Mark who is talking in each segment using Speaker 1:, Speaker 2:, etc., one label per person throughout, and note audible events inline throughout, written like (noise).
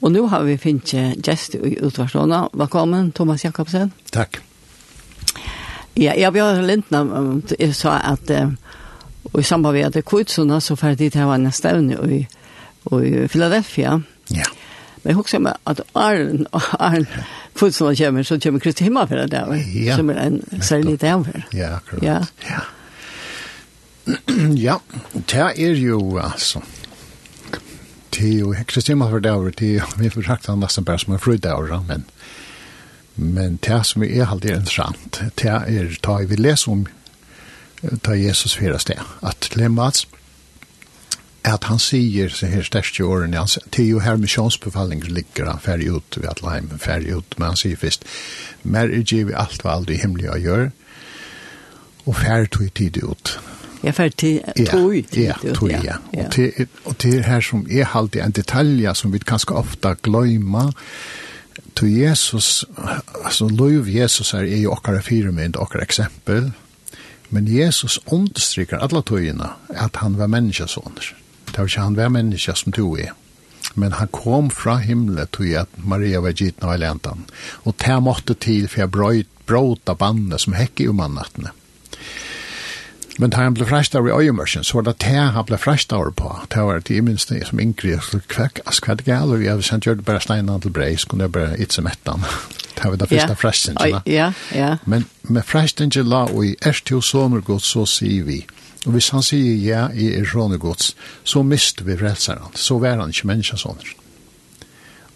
Speaker 1: Og nu har vi finnet gjest i utvarsåna. Velkommen, Thomas Jakobsen.
Speaker 2: Tack.
Speaker 1: Ja, jeg bjør Lindna, um, t- jeg sa at eh, og i samband med at det kutsuna så ferdig til å være neste evne i, og i Philadelphia.
Speaker 2: Ja.
Speaker 1: Men jeg husker meg at Arn,
Speaker 2: (laughs)
Speaker 1: Arn kutsuna kommer, så kommer Kristi Himmelfjell der,
Speaker 2: Ja.
Speaker 1: som er en særlig dæver.
Speaker 2: Ja, akkurat.
Speaker 1: Ja.
Speaker 2: Ja. ja, (clears throat) det er jo altså. Det er jo Kristina for det året, det er jo, vi får sagt han nesten bare som en fryd året, men, men det som er alltid interessant, det er, da vi leser om, da Jesus fyrer sted, at Lemats, at han sier så her største åren, han, sier, det er jo her misjonsbefalling ligger han ferdig ut, vi at Leim ferdig ut, men han sier først, mer er givet alt hva aldri himmelig å gjøre, og ferdig tog tid ut.
Speaker 1: Jeg er ferdig til
Speaker 2: Ja,
Speaker 1: tog.
Speaker 2: Ja, tog, ja. Og det, er- og det er her som er alltid en detalj som vi kanskje ofte gløymer, til Jesus, altså lov Jesus her er jo okkar firmynd, okkar eksempel, men Jesus understryker alle tøyene at han var menneskesåner. Det var ikke han var menneske som du er. Men han kom fra himmelen til at Maria var gitt av elentan. Og det måtte til for jeg brøyt, bråta bandet som hekk i mannattene. um Men da han ble frest av i øyemørsen, så var det det han ble frest av på. Det var det i minst det som Ingrid, så kvekk, ass kvekk gale, og jeg hadde sendt gjør det bare steinene til brei, så kunne jeg bare itse (laughs) mettan. Det um var det første fresten,
Speaker 1: Oi,
Speaker 2: ikke da?
Speaker 1: Ja, ja.
Speaker 2: Men med fresten til la og i erst til soner gods, så sier vi. Og hvis han sier ja, i er soner gods, så mister vi frelseren. Så var han ikke menneske soner.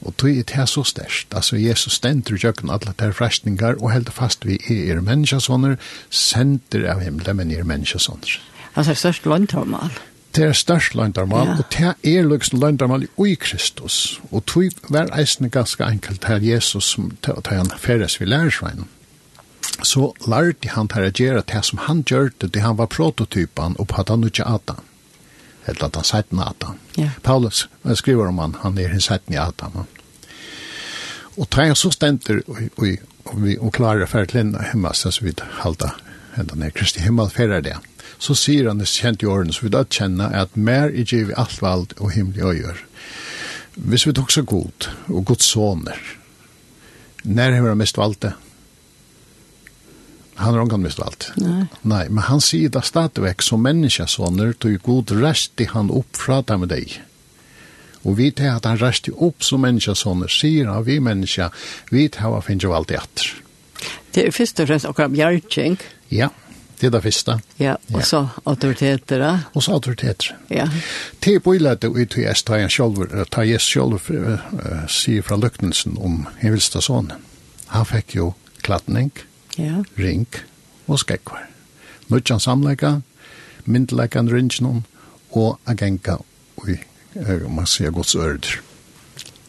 Speaker 2: Og tog er det så størst. Altså, Jesus stender i kjøkken alle der frestninger, og helder fast vi er menneske soner, sender av himmelen, men er menneske soner.
Speaker 1: Han er størst lønntormal.
Speaker 2: Det er størst løgndarmal,
Speaker 1: Ja.
Speaker 2: og det er løgnsen løgndarmal i Kristus. Og tog var eisende ganske enkelt her Jesus som ta ta han ferdes vi lærersveinen. Så lærte han til å gjøre det som han gjør det, det han var prototypen, og på at han ikke Adam. Eller at han sett en Adam.
Speaker 1: Ja.
Speaker 2: Paulus eh, skriver om han, han er en sett en Adam. Og det er så stenter, og, og, og vi og klarer for til henne hjemme, så vi halda enda ned Kristi himmel ferder det. Så sier han i kjent i årene, så vi da kjenner at mer i givet alt vald og himmelig å gjøre. Hvis vi tok så god, og god soner, når har han mest valgt det? Han har omgang mest valgt.
Speaker 1: Nei.
Speaker 2: Nei, men han sier det stadigvæk som menneskesoner, du god resti han opp fra deg med deg. Og vi til at han resti opp som menneskesoner, sier han vi mennesker, vi til å finne valgt etter.
Speaker 1: Det er først og fremst akkurat bjergjeng,
Speaker 2: Ja, det er det første.
Speaker 1: ja,
Speaker 2: Ja.
Speaker 1: og så autoriteter, da.
Speaker 2: Og så autoriteter.
Speaker 1: ja.
Speaker 2: Det er bøylete ut i S. Tajan Sjolver, Tajan Sjolver eh, sier fra løknelsen om Hivilsta sonen. Han fikk jo klatning,
Speaker 1: Ja,
Speaker 2: ring og skekvar. Nødjan samleika, myndleikan ringenon og agenka ui, eh, man sier gods ørder.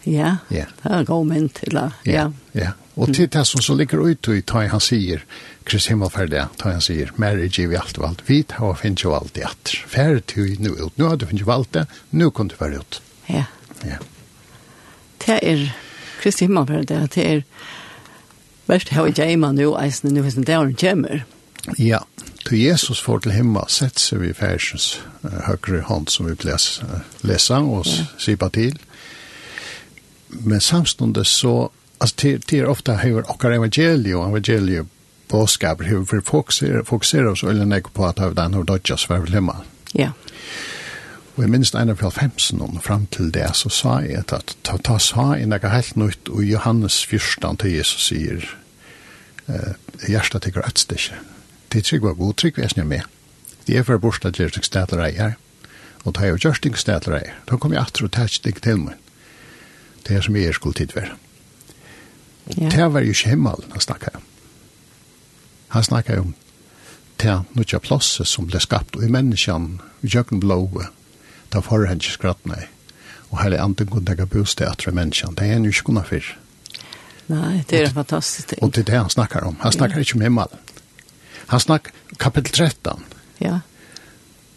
Speaker 1: ja.
Speaker 2: Ja.
Speaker 1: Det er en god mynd til det, ja.
Speaker 2: ja. Og til det som så ligger ut i ta han sier, Krist Himmelferdia, ta han sier, mer er givet alt og alt, vi ta og finnes jo alt i atter. Færre til nu ut, nu har du finnes jo alt det, nu kan du være ut.
Speaker 1: Ja.
Speaker 2: Ja.
Speaker 1: Det er Kristi Himmelferd, det er verst her i Jaima nå, eisen nå hvis den dæren kommer.
Speaker 2: Ja, til Jesus får til himmel, sett seg vi færsens uh, høyre hånd som vi les, uh, lesa og ja. sipa til. Men samstående så, altså til, til ofte hever okkar evangelio, evangelio bådskaper, hever for fokuserer, fokuserer oss øyne nek på at hever den har dodjas for himmel.
Speaker 1: Ja,
Speaker 2: Og jeg minst en av 15 om um fram til det, så sa jeg at, at ta, ta sa jeg noe helt nytt, og Johannes 14 til Jesus sier, eh, hjertet tykker et stykke. Det er trygg var god, trygg vesen jeg med. Det er for borsta Gjørsting Stadler eier, og da jeg og Gjørsting Stadler eier, da kom jeg atter og tæts deg til meg. Det er som jeg skulle tid være. Og
Speaker 1: Ja.
Speaker 2: det var jo ikke himmel han snakket om. Han snakket om det nødja plasset som ble skapt, og i menneskene, i kjøkken blåa, da får han ikke skratt nei. Og hele andre kunne tenke bostad etter menneskene, det er han jo ikke kunne fyrr.
Speaker 1: nei, det er en fantastisk ting.
Speaker 2: Og det er det han snakker om. Han snakker ikke om himmelen. Han snakker kapitel 13,
Speaker 1: Ja,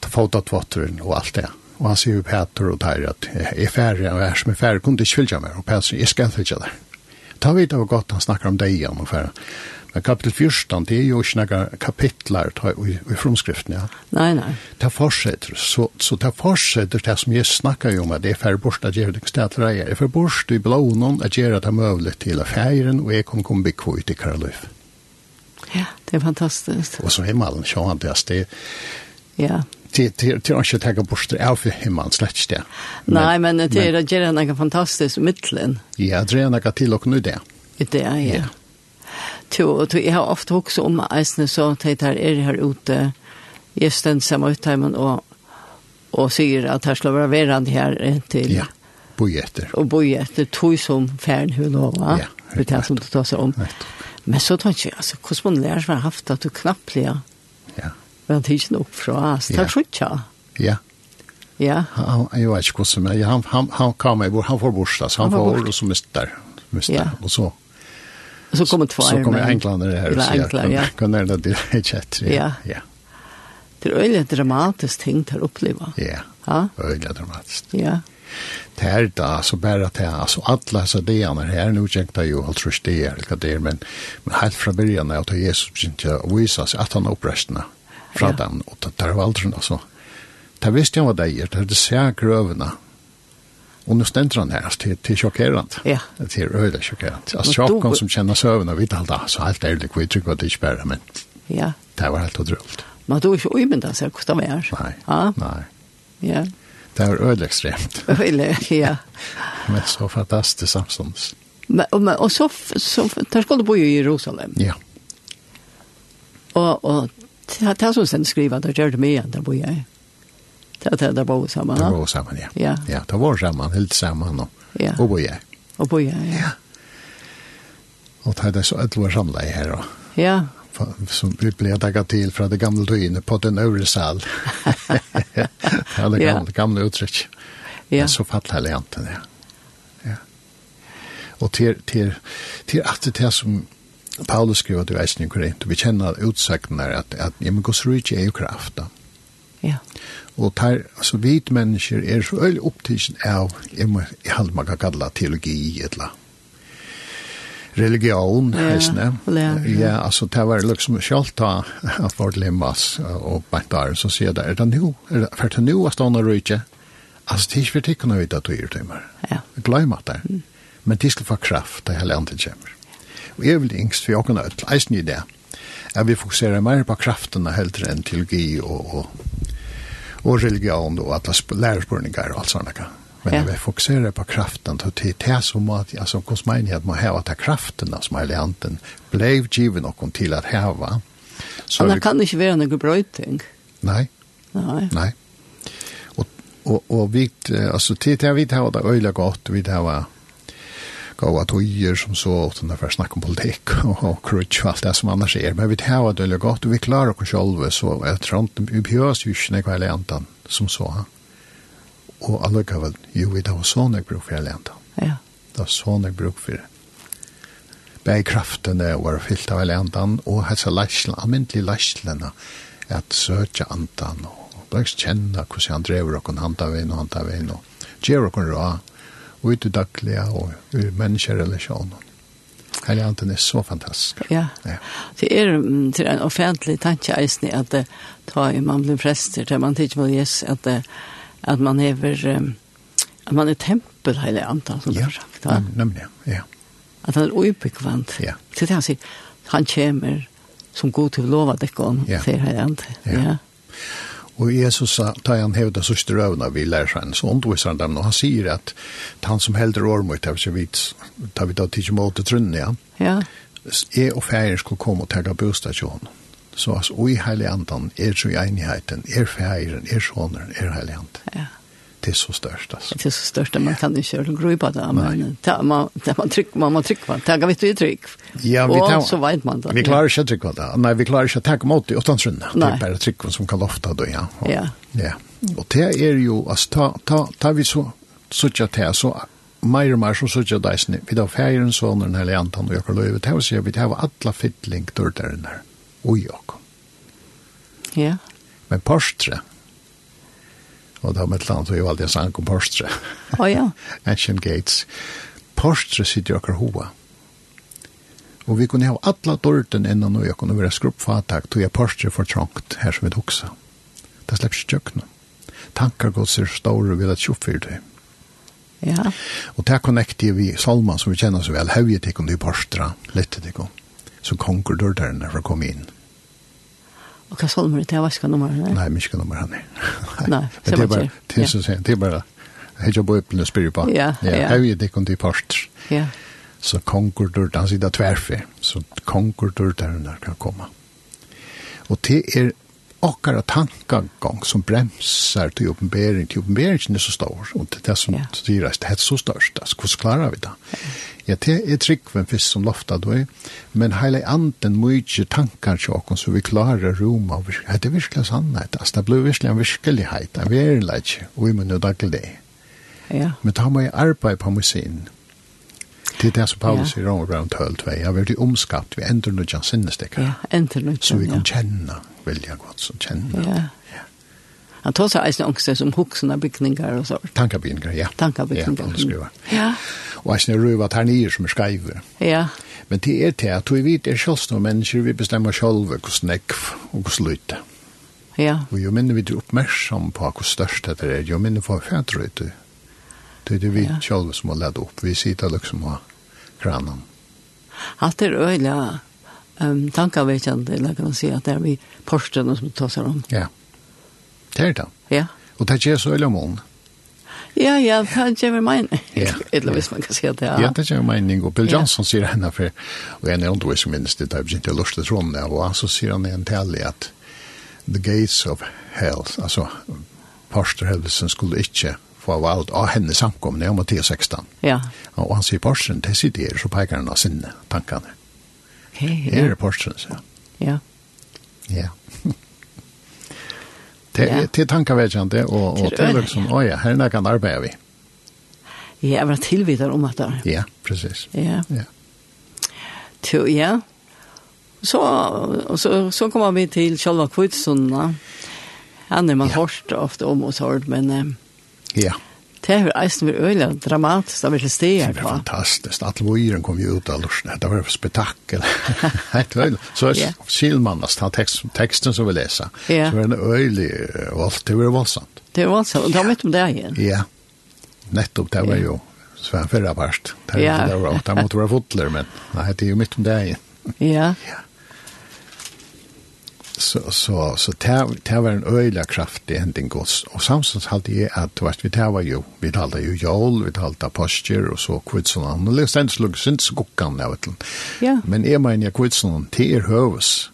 Speaker 2: ta fota tvatteren og alt det. Og han sier jo Peter og Teir at jeg er færre, og jeg er som er um færre, kunne du ikke fylgja meg. Og Peter sier, jeg skal fylgja deg. Ta vidt av godt han snakker om deg igjen og færre. Men kapitel 14, det er jo ikke noen kapitler ta- i, i fromskriften, ja.
Speaker 1: Nei, nei.
Speaker 2: Det fortsetter, så, så det fortsetter det som jeg snakker jo om, at det er færre bort at gjøre det stedet jeg er færre bort i blånen at gjøre det mulig til affæren, og jeg kommer komme bygge ut i Karløyf.
Speaker 1: Ja, det er fantastisk.
Speaker 2: Og er så himmelen, sjåan det, det,
Speaker 1: Ja.
Speaker 2: det, det, det er ikke å tenke bort det, av himmelen, slett ikke det.
Speaker 1: Nei, men det er at gjøre noe fantastisk i midtelen
Speaker 2: Ja, det er noe til og nå det.
Speaker 1: i det, ja.
Speaker 2: Ja.
Speaker 1: Jo, og jeg har ofte også om eisene så at jeg tar er her ute, jeg stend sammen ut hjemme og, og sier at her skal være verand her til
Speaker 2: Ja, bo etter.
Speaker 1: og bo etter tog som færen hun lova,
Speaker 2: Ja,
Speaker 1: for det er som du tar seg om.
Speaker 2: Nettopp.
Speaker 1: Men så tar jeg, altså, hvordan man lærer seg er haft at du knapplig, ja,
Speaker 2: Ja,
Speaker 1: men det er ikke nok fra, altså, det
Speaker 2: Ja.
Speaker 1: er trutja.
Speaker 2: ja.
Speaker 1: Ja,
Speaker 2: Han, han- jeg vet ikke hva som er. Han, han, han kom i bor, han får borsdag, så han,
Speaker 1: Han får
Speaker 2: får
Speaker 1: borsdag.
Speaker 2: og så mister. mister.
Speaker 1: Ja.
Speaker 2: Og så,
Speaker 1: og så kommer tvær.
Speaker 2: så kommer
Speaker 1: men-
Speaker 2: englander her og
Speaker 1: Eller
Speaker 2: sier,
Speaker 1: englander, ja.
Speaker 2: kan er det det er kjett?
Speaker 1: Ja.
Speaker 2: Ja,
Speaker 1: Det er øyelig dramatisk ting til å oppleve.
Speaker 2: ja.
Speaker 1: Ja,
Speaker 2: Øyla dramatisk.
Speaker 1: ja,
Speaker 2: Det er da, så bare det er, altså alle disse dagene her, nå kjent jeg jo alt trus det er, eller hva det er, men, men helt fra begynnelsen av til Jesus kjent jeg å vise seg at han opprestene fra
Speaker 1: Ja.
Speaker 2: den, og det det er jo aldri, altså. Det visste jeg hva det er, det er det ser grøvene, Og nå stender han her, altså, til, til sjokkerant.
Speaker 1: Ja.
Speaker 2: Det er øyla sjokkerant. Altså,
Speaker 1: Men du-
Speaker 2: sjokken som kjenner søvn, og vi talte, altså, helt ærlig, vi trykker at det ikke bare, men
Speaker 1: ja.
Speaker 2: det var helt utrolig.
Speaker 1: Man tog ikke uimynda seg hvordan det er.
Speaker 2: Nei,
Speaker 1: Ja,
Speaker 2: nei.
Speaker 1: ja.
Speaker 2: Det var øyla ekstremt,
Speaker 1: Øyelig, ja.
Speaker 2: men så fantastisk samståndes.
Speaker 1: Men, og, men- og så, f- så f- der skal du bo i Jerusalem.
Speaker 2: Ja,
Speaker 1: Og, og det er som sen skriver, det gjør det mye enn der bor jeg. Det er det der bor vi sammen,
Speaker 2: det
Speaker 1: ja.
Speaker 2: var sammen, ja.
Speaker 1: Ja,
Speaker 2: Ja, det var sammen, helt sammen, og,
Speaker 1: ja.
Speaker 2: og bo jeg.
Speaker 1: Og bor jeg, ja.
Speaker 2: Og det er så et var samlet her, og
Speaker 1: Ja,
Speaker 2: fa- som vi ble dagget til fra det gamle døgnet på den øvre sal.
Speaker 1: (laughs)
Speaker 2: (laughs) det er det
Speaker 1: Ja.
Speaker 2: gamle, gamle uttrykk.
Speaker 1: ja.
Speaker 2: Men så fatt hele janten, ja. ja. Og til, til, til at det er som Paulus skriver til veisen i Korint, og vi kjenner utsagten der at, at ja, men Guds rydde er jo kraft da.
Speaker 1: Ja,
Speaker 2: Og tar, altså, hvit mennesker er så øyelig opptidsen av, jeg må, jeg halde man kan kalla teologi, etla. Religion,
Speaker 1: Ja,
Speaker 2: heisne.
Speaker 1: ja.
Speaker 2: Ja, altså, det var liksom sjalt da, at vårt limmas og bentar, så sier det, er det nu, er det, for det nu er stående rydde, altså, det er ikke for tikkene ut at du gjør timer.
Speaker 1: ja.
Speaker 2: Glem at det. Men de skal få kraft, det hele andre kommer. Og jeg vil yngst for åkene ut, eisen i det, at vi fokuserer mer på kraftene heller enn teologi og, og, og religion og alle sp- lærespurninger og alt sånt. Men
Speaker 1: Ja.
Speaker 2: ja. vi fokuserer på kraften til til det som at, altså, hos menighet må heva til kraftene som hele anden blev givet noen til at heva. Så
Speaker 1: Men det
Speaker 2: er vi-
Speaker 1: kan ikke være noen brøyting.
Speaker 2: Nei.
Speaker 1: Nei.
Speaker 2: Nei. Og og og vi eh, altså til til vi tar det øyla godt, vi tar va gåa tøyer som så åt den for snakk om um politikk (laughs) og, og crutch og alt det som annars er, men vi tar det øyla godt, og vi klarer oss sjølve, så jeg tror ikke vi bjøs jo ikke nek vel entan som så. Og allikevel, jo, vi tar sånn jeg bruk for hele entan.
Speaker 1: Ja,
Speaker 2: Det er sånn jeg bruk for det. Begge kraftene var er fyllt av hele andan, og hessa leislen, almindelig leislene, at søtja andan, og bleks kjenne hvordan han drever og handa vinn og handa vinn, og gjer og ra, og ut i daglige, og i mennesker relasjon. Hele andan er så fantastisk.
Speaker 1: ja.
Speaker 2: Ja,
Speaker 1: Det er mm, til en offentlig tanke eisen i at eh, ta i man blir prester til man tidlig med Jesus at, eh, at man hever um, at man er tempel hele andan som
Speaker 2: ja.
Speaker 1: har sagt ja.
Speaker 2: nem- nemlig, ja.
Speaker 1: at han er uibekvant
Speaker 2: Ja.
Speaker 1: til det han sier han kommer som god til å lova deg om
Speaker 2: Ja.
Speaker 1: sier hele andan
Speaker 2: Ja.
Speaker 1: ja.
Speaker 2: Og Jesus sa, tar han hevda sørste røvna vi lærer seg, så underviser han dem, og han sier at han som helder ormut, tar vi tar vi da tidsmål til måte trunne, ja.
Speaker 1: ja
Speaker 2: jeg og færer skulle komme og tega bostad til henne. Så altså, og i heilig andan er så i enigheten, er færen, er såneren, er heilig andan.
Speaker 1: ja
Speaker 2: Det er så størst, altså.
Speaker 1: det er så størst at man kan ikke gjøre grøy på det men eh, ta, man, ta, man trykk man må trykk man ta vet du i trykk
Speaker 2: Ja, vi tar-
Speaker 1: og så vet man det
Speaker 2: Vi klarer ikke å trykke det. Nei, vi klarer ikke å tenke mot det utan trunne. Det
Speaker 1: Nei.
Speaker 2: er bare trykken som kan lofta det, ja. Og,
Speaker 1: Ja.
Speaker 2: ja. Og det er jo, altså, ta, ta, ta vi så, suttja til, så meir og meir så suttja deisne, vi da færen, sonen, hele antan og jokker løyve, det er å si at vi tar atla fytling dørderen her, og jokker.
Speaker 1: ja
Speaker 2: Men Porsche. Og da med et land, og jeg valgte er en sang om Porsche. (laughs)
Speaker 1: å ja
Speaker 2: Ancient Gates. Porsche sitter jo akkurat hoa. Og vi kunne ha alla dörten innan och jag kunde vara skruppfattak tog jag parstret för er trångt här som vi också. Det er släpps tjökna. Tankar går sig stora vid att tjoff för det.
Speaker 1: Ja.
Speaker 2: Og det konnekter vi salman som vi kjenner så vel, hevje tikkum du parstra, lette tikkum, så konger dørterne for å komme inn.
Speaker 1: Og hva salmer er det? Det var ikke nummer, nei?
Speaker 2: Nei, men ikke nummer han er.
Speaker 1: Nei,
Speaker 2: Men
Speaker 1: så
Speaker 2: det er
Speaker 1: var
Speaker 2: bare,
Speaker 1: det.
Speaker 2: det er så sen, det er bare, hei jo bøyplen og spyrir på.
Speaker 1: Ja, ja.
Speaker 2: Hevje tikkum du parstra,
Speaker 1: Ja,
Speaker 2: så konger dørterne, han sitter tverfe, så konger dørterne kan komme. er Og det er akkara tankagång som bremsar till uppenbering, till uppenberingen är så stor, och det är det som
Speaker 1: Ja.
Speaker 2: yeah. styrar, det är så störst, alltså hur klarar vi det? Ja, er det är tryggven först som loftar då, men hela anden mycket tankar till oss så vi klarar rum av, ja, det är verkligen sannhet, alltså det blir verkligen verklighet, en verklighet, och vi måste daglig det.
Speaker 1: ja,
Speaker 2: Men tar man ju arbeid på musein. Det är det som Paulus
Speaker 1: Ja.
Speaker 2: säger om around 12, jag vill bli omskapt, vi ändrar några sinnestickare.
Speaker 1: ja, enter nu.
Speaker 2: Så vi kan känna, vilja gott, så känna.
Speaker 1: Ja. Han tar sig eisen ångst som huxna byggningar och sånt.
Speaker 2: Tankabindningar, ja.
Speaker 1: Tankabindningar.
Speaker 2: Ja, skruva.
Speaker 1: Ja,
Speaker 2: Og jeg snur røyva ternier som er skreiver.
Speaker 1: ja,
Speaker 2: Men det er til at vi vet er sjølst noen mennesker, vi bestemmer sjølv hvordan nekv og hvordan lytte.
Speaker 1: ja,
Speaker 2: Og jo minne vi er oppmerksom på hvor størst dette er, jo minne for fætrøyte. Det er det vi
Speaker 1: Ja.
Speaker 2: sjølv som har ledd opp. Vi sitter liksom av kranen.
Speaker 1: Allt är öjla um, tankavetjande, eller kan man säga, att det er är vi porsten som tar sig om.
Speaker 2: Ja. Det er det.
Speaker 1: um. Ja,
Speaker 2: Og det er så øyla mån.
Speaker 1: ja, ja, det är väl min. (laughs)
Speaker 2: Ja.
Speaker 1: Eller visst man kan säga det,
Speaker 2: Ja,
Speaker 1: ja.
Speaker 2: det er jo mening. Og Bill
Speaker 1: Ja.
Speaker 2: Johnson sier henne for, og en er undervis minst det, da jeg begynte å luste trådene av, og han så sier han i en tale at the gates of hell, altså pastor Helvesen skulle ikke få valgt av henne samkomne om Mattias 16.
Speaker 1: Ja,
Speaker 2: Og han sier pastoren, det sitter her, så peker han av sinne, tankene.
Speaker 1: okej,
Speaker 2: Her
Speaker 1: ja,
Speaker 2: er pastoren, sier han.
Speaker 1: ja,
Speaker 2: Ja. Det
Speaker 1: Ja.
Speaker 2: er til tankevedkjente, og, og
Speaker 1: Til
Speaker 2: det er
Speaker 1: øyne,
Speaker 2: liksom,
Speaker 1: ja.
Speaker 2: åja, ja, her er kan arbeide vi.
Speaker 1: ja, jag var um tillvidare om att det är.
Speaker 2: Ja, precis.
Speaker 1: Ja,
Speaker 2: Ja.
Speaker 1: to, ja. Så, och så, så kommer vi till själva kvitsunna. Han är man
Speaker 2: Ja.
Speaker 1: hörst ofta om och så hört, men eh,
Speaker 2: Ja.
Speaker 1: det är eisen vi öjla dramatiskt, det är väl
Speaker 2: Det er
Speaker 1: stegar
Speaker 2: var
Speaker 1: på.
Speaker 2: fantastiskt. Alla voyeren kom ju ut av lusten. Det var ett
Speaker 1: (laughs)
Speaker 2: spektakel. Helt väl. Så
Speaker 1: Ja.
Speaker 2: Kilmanas, han text, texten som vi läser.
Speaker 1: Ja.
Speaker 2: Så var det en öjlig, eh, våld. det var våldsamt.
Speaker 1: Det er är vansamt, och de vet om det igen.
Speaker 2: Ja. Nettopp, det var
Speaker 1: Ja.
Speaker 2: ju Sven förra parst. Det,
Speaker 1: Ja.
Speaker 2: ja. det, var, det måtte vara fotler, men nej, det är ju mitt om det igen.
Speaker 1: Ja,
Speaker 2: Så, så, så det, det var en öjlig kraftig händing gods. Och samtidigt hade jag att vart vi det var ju, vi talade ju jol, vi talade posture och så kvitsen. Och sen slog syns guckan, jag vet inte.
Speaker 1: ja,
Speaker 2: Men jeg mener jeg kvitsen, det er høves.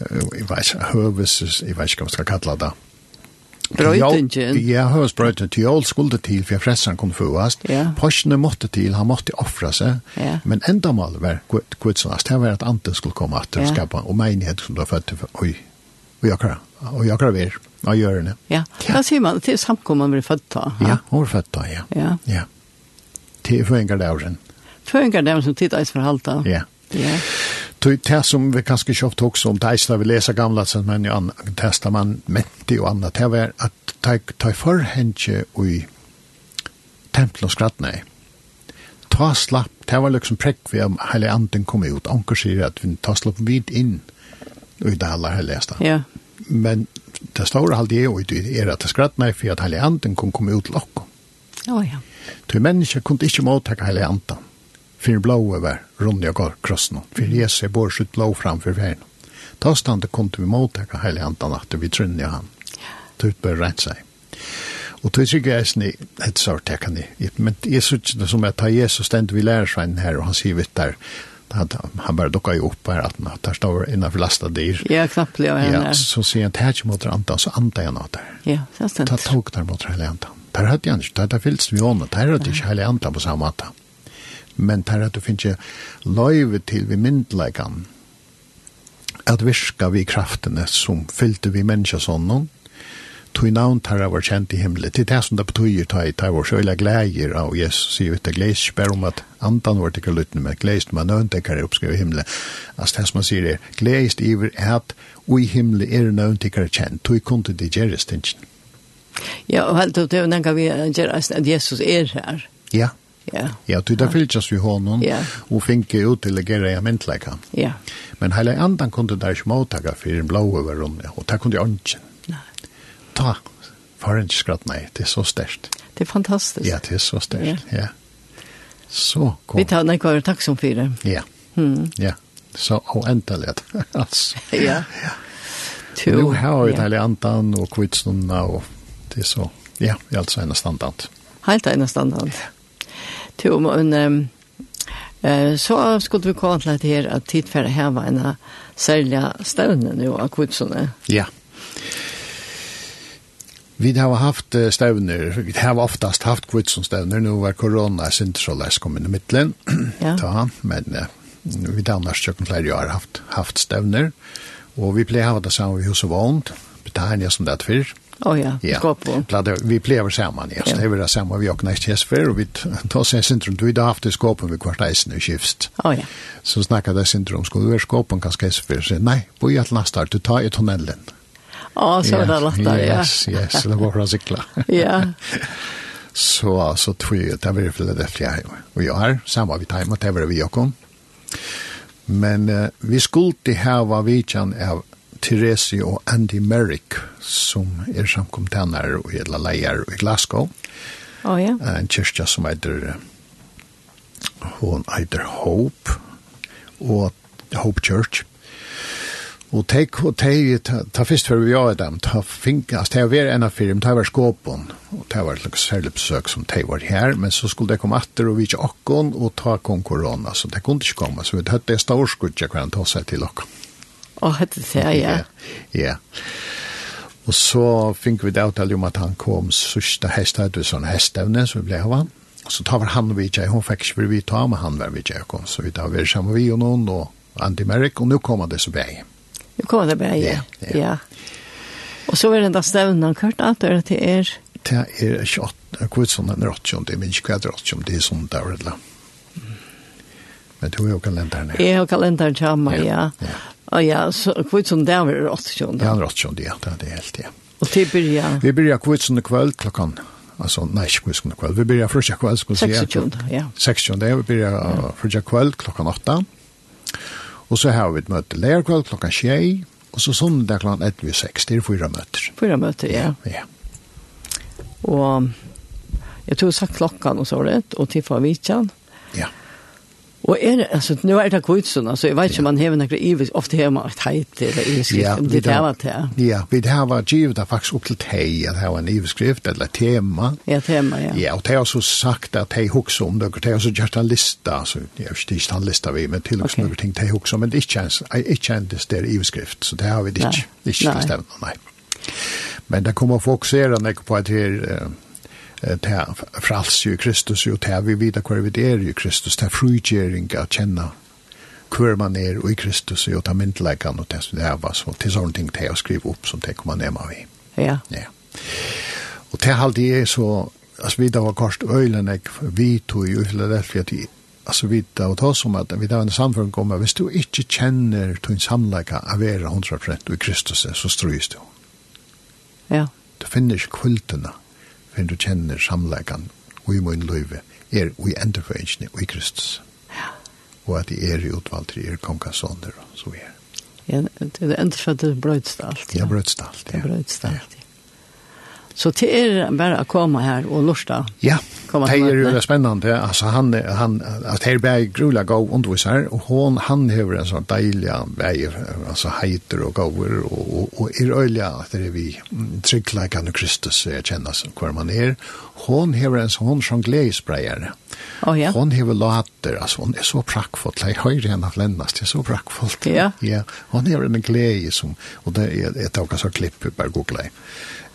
Speaker 2: Eh, Jeg vet ikke, høves, jeg vet ikke hva man skal kalle det.
Speaker 1: Brøytingen.
Speaker 2: Ja, høves brøytingen. Til jól skulle til, for fresen kunne fåast.
Speaker 1: Ja.
Speaker 2: Porsene måtte til, han måtte offra seg.
Speaker 1: Ja.
Speaker 2: Men enda mal var kvitsen, det var at anden skulle komme at
Speaker 1: Ja.
Speaker 2: skapa, og menighet som da fødte, oi, og jeg klar, og jeg klar ver, og jeg gjør det.
Speaker 1: ja. Hva sier man? er Til samkomman blir født da.
Speaker 2: Ja, hun var født da, ja.
Speaker 1: Ja.
Speaker 2: Ja. Til føringardagen,
Speaker 1: Føringar dem som tid eis forhalta.
Speaker 2: ja.
Speaker 1: Ja,
Speaker 2: Tog det som vi kanske köpt också om det när vi läser gamla testament och testamentet och annat. Det var att ta, ta för hänge i templet och skrattna i. Ta slapp, det var liksom präck vi om hela anden kom ut. Anker säger att vi tar slapp vid in i det alla heligaste.
Speaker 1: ja,
Speaker 2: Men det stora halde är i är att det skrattna i för att hela anden kom, kom ut lockom.
Speaker 1: ja, ja.
Speaker 2: Ty människa kunde inte mottaka hela antan. Fyra blå över runda går krossen. För Jesus är bor sitt blå framför världen. Ta stande kunde vi mottaka hela antan att vi trunde han. Tut bör rätt sig. Och då tycker jag att ett sort jag kan ni. Men jag syns det som att ta Jesus ständigt vi lär sig här och han ser vitt där. Han, han bara dockar ju upp er här att han står innanför lastade dyr.
Speaker 1: Ja, knapplig av henne.
Speaker 2: Ja, så ser han tätt mot antan så antar jag något där.
Speaker 1: Ja, det er
Speaker 2: Ta
Speaker 1: stendt.
Speaker 2: tog der mot hele andan. Der hadde jeg ikke, der fyltes vi ånden, der hadde ikke hele andan på samme måte. Men der hadde du finnes løyve til vi myndleggen, at virka vi kraftene som fylte vi mennesker sånn, tog navn tar av vår kjent i himmelen. Til det som det betyr ta i tar vår sjøla glæger av Jesus, sier vi til glæs, spør om um at andan vår tikkar lutten med glæs, man nøntekar er oppskrivet i himmelen. Altså det som man sier er, glæs iver er at ui himmelen er nøntekar kjent, tog kunde det gjeres tinsen.
Speaker 1: eh, Ja, og helt opp til å vi gjør eisen at Jesus er her.
Speaker 2: Ja,
Speaker 1: Ja.
Speaker 2: Ja, du där fyllas vi honom
Speaker 1: Ja.
Speaker 2: och finke ut till lägga i mentläka.
Speaker 1: Ja.
Speaker 2: Men hela andan kunde där småtaga för en blå över rummet och där kunde jag inte.
Speaker 1: Nej.
Speaker 2: Ta, för inte skratt nej, det är så störst.
Speaker 1: Det er är fantastiskt.
Speaker 2: Ja, det är så störst, ja. Så kom.
Speaker 1: Vi tar när kvar tack som fyra.
Speaker 2: Ja,
Speaker 1: Mm.
Speaker 2: ja. Så oändligt. (laughs) alltså.
Speaker 1: Ja.
Speaker 2: Jo,
Speaker 1: Tu.
Speaker 2: nu har vi
Speaker 1: ja.
Speaker 2: ja. hela andan och kvitsnunna och det är så. Ja, det är alltså en standard.
Speaker 1: Helt en standard. Tu om en ehm, eh, så skulle vi komma till det här att tid för här var en sälja stövnen nu av kutsarna.
Speaker 2: Ja. Vi har haft eh, stævner, vi har oftast haft kvitsonstævner, nu var korona sintersolais kommet i middelen,
Speaker 1: (clears throat) Ja.
Speaker 2: ta, men eh, vi har annars tjøkken flere år haft, haft stævner, og vi pleier å ha det sammen i hus og vånd, betegnet som det er før,
Speaker 1: Åh oh, ja, ja. skåp på.
Speaker 2: Glad, vi plever sammen, ja. Så
Speaker 1: Ja.
Speaker 2: det er det samme vi åkne ikke hestfer, og vi tar seg syndrom. Du har haft det skåpen ved hvert eisen i er skift.
Speaker 1: Åh oh, ja.
Speaker 2: Så snakket det syndrom, skal du være skåpen kanskje hestfer? Så nei, bo i alt neste år, du tar i tunnelen.
Speaker 1: Åh, så var det lättare, ja.
Speaker 2: Yes, yes, det var bra sikla.
Speaker 1: (laughs) Ja,
Speaker 2: Så, så tror jeg, det var det flere det flere og jeg har, samme vi tar imot, det var det vi og kom. Men eh, vi skulle til her var vidtjen av Therese og Andy Merrick, som er samkomtenner og edla leier i Glasgow.
Speaker 1: åh oh, ja.
Speaker 2: Eh, En kyrkja som heter, eh, hun heter Hope, og Hope Church. Og teg, og teg, ta, ta først før vi gjør dem, ta finkas, det var en av firm, det var skåpen, og det var et slags særlig besøk som det var her, men så skulle det komme atter og vidtje okkon, og ta kom korona, så det kunne ikke komme, så vi hadde det stavskudje hver han ta seg til okkon.
Speaker 1: Åh, oh, det ser jag.
Speaker 2: Ja. Og så fikk vi det avtale om at han kom sørste hestet ut sånn hestevne, så vi ble av han. Og så tar var han vi ikke, hun fikk ikke vi ta, men han var vi ikke, kom. Så vi tar vi sammen vi og noen, og Andy Merrick, og nå kommer det så vei.
Speaker 1: Nu kommer det bara, ja.
Speaker 2: Ja, ja.
Speaker 1: Ja. Och så er är den där stövnen kört allt det till er.
Speaker 2: Det er 28, kvitsen er 80, det er minst hva det er 80, det er sånn der, eller? Men du er jo kalenderen her.
Speaker 1: Jag har kalendern tjamma,
Speaker 2: Ja,
Speaker 1: ja.
Speaker 2: ja.
Speaker 1: Och ja, så kvitt som där var det 80
Speaker 2: Ja,
Speaker 1: ja.
Speaker 2: han er 80, ja, det er det helt, ja.
Speaker 1: Och till börja
Speaker 2: Vi börjar kvitsen i kveld klockan, altså, nei, ikke kvitsen i kveld, vi börjar första kveld, skulle jeg si.
Speaker 1: 26, ja.
Speaker 2: 16. Det blir uh, första kväll klockan 8. Och så har vi ett möte lärkväll klockan 6. Och så söndag klockan 1 vid 6. Det är fyra möter.
Speaker 1: Fyra möter, ja.
Speaker 2: Ja.
Speaker 1: Och jag tror jag sa klockan och så var det. Och till för vitjan.
Speaker 2: Ja.
Speaker 1: Och är er det, alltså, nu är det kvitt som, alltså, jag vet inte om man häver några ivis, ofta häver man ett hejt eller ivis, om det är vad det är.
Speaker 2: Ja, vi det här var givet det faktiskt upp till dig att ha en ivskrift eller ett tema.
Speaker 1: Ja, tema, ja.
Speaker 2: Ja, och det har så sagt att hej också om det, det um har så gjort en lista, så jag vet inte just en lista vi, men till och
Speaker 1: Okej.
Speaker 2: med ting det också, men det är inte ens, är inte ens det är ivskrift, så det har vi inte,
Speaker 1: Nej.
Speaker 2: det är inte
Speaker 1: Nej.
Speaker 2: stävna, nej. Men det kommer att fokusera mycket på eh, att det är det frals ju Kristus och det här vi vet kvar vi är ju Kristus, det är frugering att känna hver man er og i Kristus og ta myndleggene og det som det her var så til sånne ting til å skrive opp som det kommer nema vi.
Speaker 1: Ja,
Speaker 2: Ja. Og til halvt det er så, altså vi da var kost øylen, jeg, vi tog jo til det at vi, altså vi da var tås om um at vi da var en samfunn kom, hvis du ikke kjenner til en samleika av vera 100% og i Kristus, så strøys du.
Speaker 1: ja.
Speaker 2: Du finner ikke kvultene, for du kjenner samleikan og i min løyve, er og i enderføringene og i Kristus. Og at de er i utvalgt, de er kongasånder og så er.
Speaker 1: Ja, det er är inte för att det bröts allt.
Speaker 2: De har brøtst alt.
Speaker 1: Det
Speaker 2: ja.
Speaker 1: bröts allt. Ja. Så till er bara att komma här och lusta.
Speaker 2: Ja,
Speaker 1: Kom att
Speaker 2: det är ju
Speaker 1: möta.
Speaker 2: det spännande. Alltså han, han, att här bär grula gav undervisar och hon, han har en sån dejlig väg, alltså hejter och gaver och, och, och är öjliga att det är vi mm, tryggläggande Kristus er är känna som kvar man är. er. Hon har en sån jongleringsbrejare.
Speaker 1: Åh ja.
Speaker 2: Hon har later, alltså hon är så prackfullt. Jag hör henne att lämnas, det är så prackfullt.
Speaker 1: Ja.
Speaker 2: Ja, hon har en glädje som, och det er- är ett av så klipp vi bara googla i.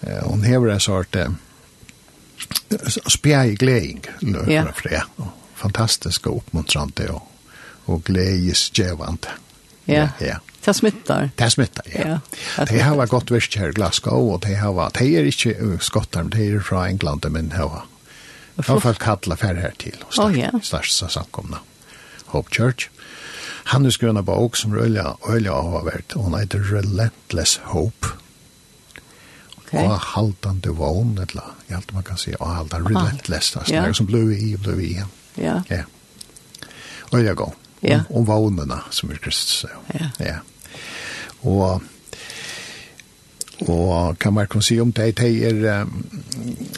Speaker 2: Eh, Hon har en sort eh, spjär i glädje,
Speaker 1: Ja.
Speaker 2: ja. fantastiska och uppmuntrande och, och glädjesgevande.
Speaker 1: Ja.
Speaker 2: ja.
Speaker 1: Det smittar.
Speaker 2: Det smittar, ja.
Speaker 1: Ja, det
Speaker 2: Det har
Speaker 1: smittar.
Speaker 2: vært godt verst her i Glasgow, og det har vært, det er ikke uh, skottarm, det er fra England, men det har
Speaker 1: Og
Speaker 2: vært. har fått kalla færre her til, og
Speaker 1: Å, ja.
Speaker 2: størst seg samkomna. Hope Church. Han er skrønne bok som rølja, rølja har vært, og han heter Relentless Hope. Okay. Og
Speaker 1: Okej.
Speaker 2: haltande vogn, eller jeg alt man kan si, og haltande
Speaker 1: Ah,
Speaker 2: relentless, altså,
Speaker 1: ja.
Speaker 2: det er som blå i, blå i, ja.
Speaker 1: ja.
Speaker 2: Ja. Og jeg går.
Speaker 1: Ja.
Speaker 2: Om, om vognene som er Kristus.
Speaker 1: Ja.
Speaker 2: ja. Og og kan man kunne si om det, det er um,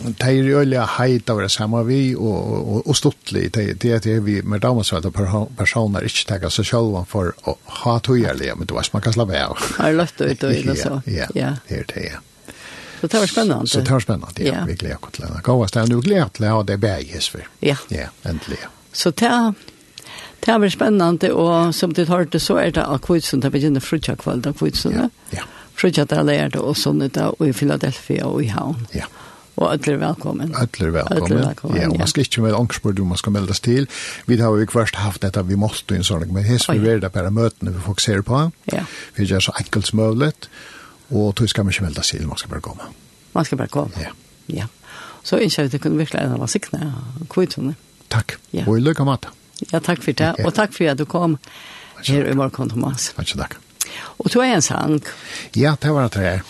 Speaker 2: det er øyelig heit av det samme vi og, og, og stortlig, det det er det vi med damasvalgte personer ikke takker seg selv for å ha togjerlige, men det var som man kan slappe av.
Speaker 1: Har lagt ut
Speaker 2: (laughs)
Speaker 1: og inn og er så.
Speaker 2: Ja, ja,
Speaker 1: ja.
Speaker 2: det er det, ja.
Speaker 1: Så det var spennende.
Speaker 2: Så det var spennende, ja.
Speaker 1: Ja.
Speaker 2: Vi gleder oss til det. Gåa stedet, du gleder til det, og det er bare Jesper.
Speaker 1: Ja.
Speaker 2: Ja, endelig, ja.
Speaker 1: Så det er- det har vært spennende, og som du hørte, så er det av kvitsen, det begynner frutja kveld av kvitsen.
Speaker 2: Ja,
Speaker 1: Ja.
Speaker 2: ja,
Speaker 1: Frutja det er lært, og sånn det er, og i Philadelphia og i Havn.
Speaker 2: ja.
Speaker 1: Og alle er velkommen.
Speaker 2: Ödler välkommen.
Speaker 1: Ödler välkommen,
Speaker 2: ja, och man
Speaker 1: ja.
Speaker 2: ska inte med angstbord om man ska meldas till. Vi har ju först haft detta vi måste ju en sån men här ska vi
Speaker 1: Oj.
Speaker 2: vara där på möten vi fokuserar på.
Speaker 1: Ja.
Speaker 2: Vi gör så enkelt som möjligt och då ska man inte meldas till man ska bara komma.
Speaker 1: Man skal bare komme.
Speaker 2: Ja.
Speaker 1: Ja. Så innskjer vi at det kunne virkelig en av sikne av kvitsen.
Speaker 2: Tack.
Speaker 1: Ja.
Speaker 2: Och lycka med det.
Speaker 1: Ja, takk for det,
Speaker 2: Ja.
Speaker 1: og takk for at du kom her i morgen, Thomas.
Speaker 2: Tack så tack.
Speaker 1: Og du er en sang.
Speaker 2: Ja, det var det här.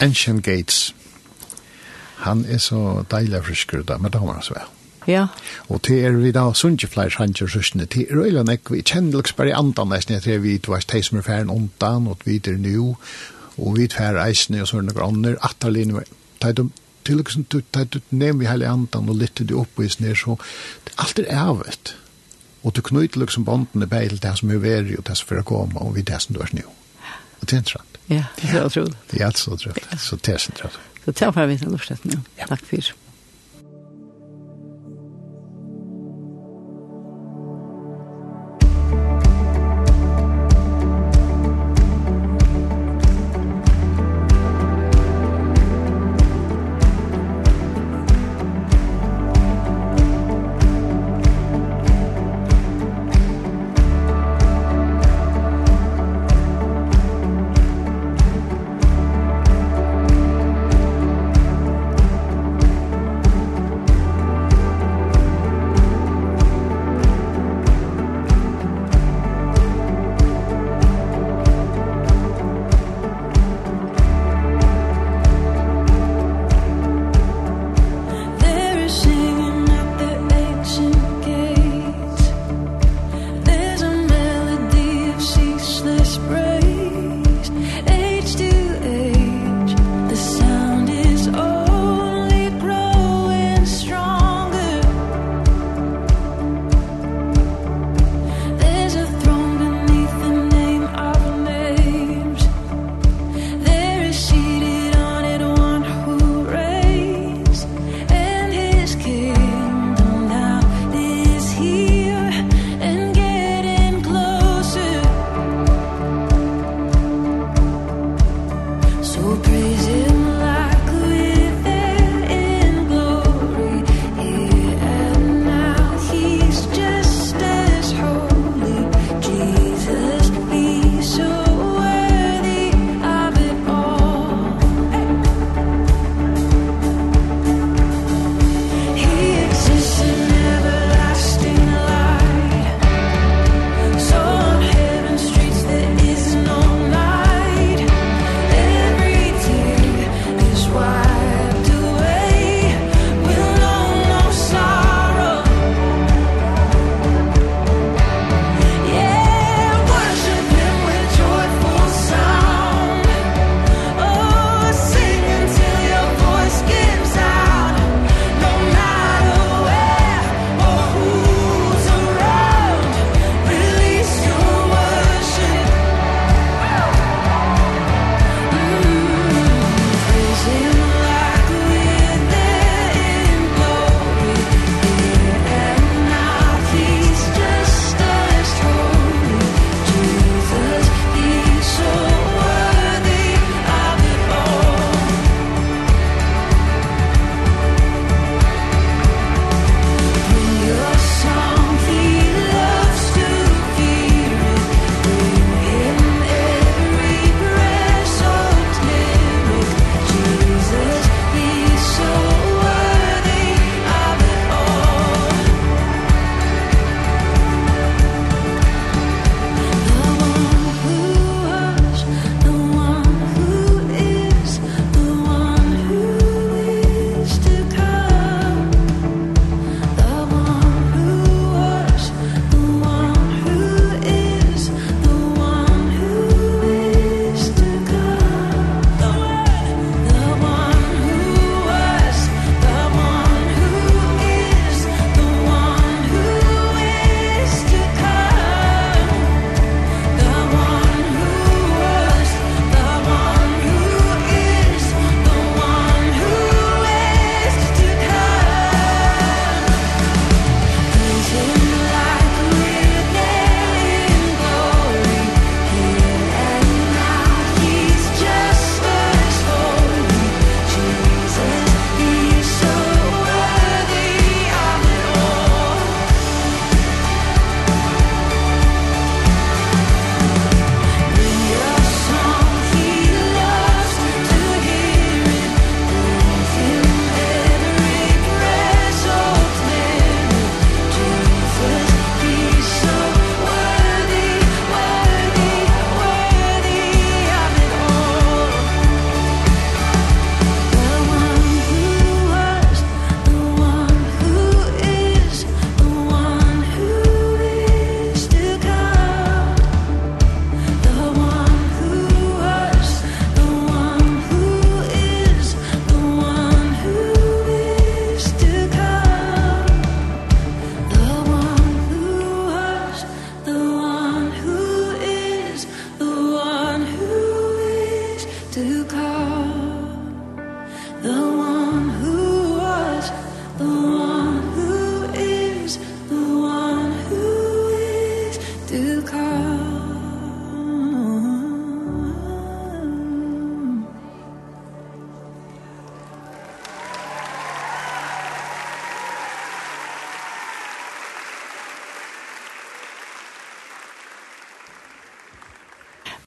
Speaker 2: Ancient Gates. Han är så dejlig friskare där, men det har man så väl.
Speaker 1: Ja,
Speaker 2: Og det er vi da sundjefleir hansjer søsne til røyla nek vi kjenner liksom bare i andan nesten jeg tror vi du veist de som er færen ondan og vi er nu og vi fær eisne og sånne noen andre atterlinje de de til liksom du de du nevn vi hele andan og lytte du opp og isne så alt er evet og du knyter liksom bandene bare til det som er veri og det som fyrir koma og vi det som du er nu og det er interessant
Speaker 1: ja, det er utrolig.
Speaker 2: det er alt så interessant så det er interessant
Speaker 1: Så det er bare vi til lortet nå.
Speaker 2: Ja.
Speaker 1: Takk for.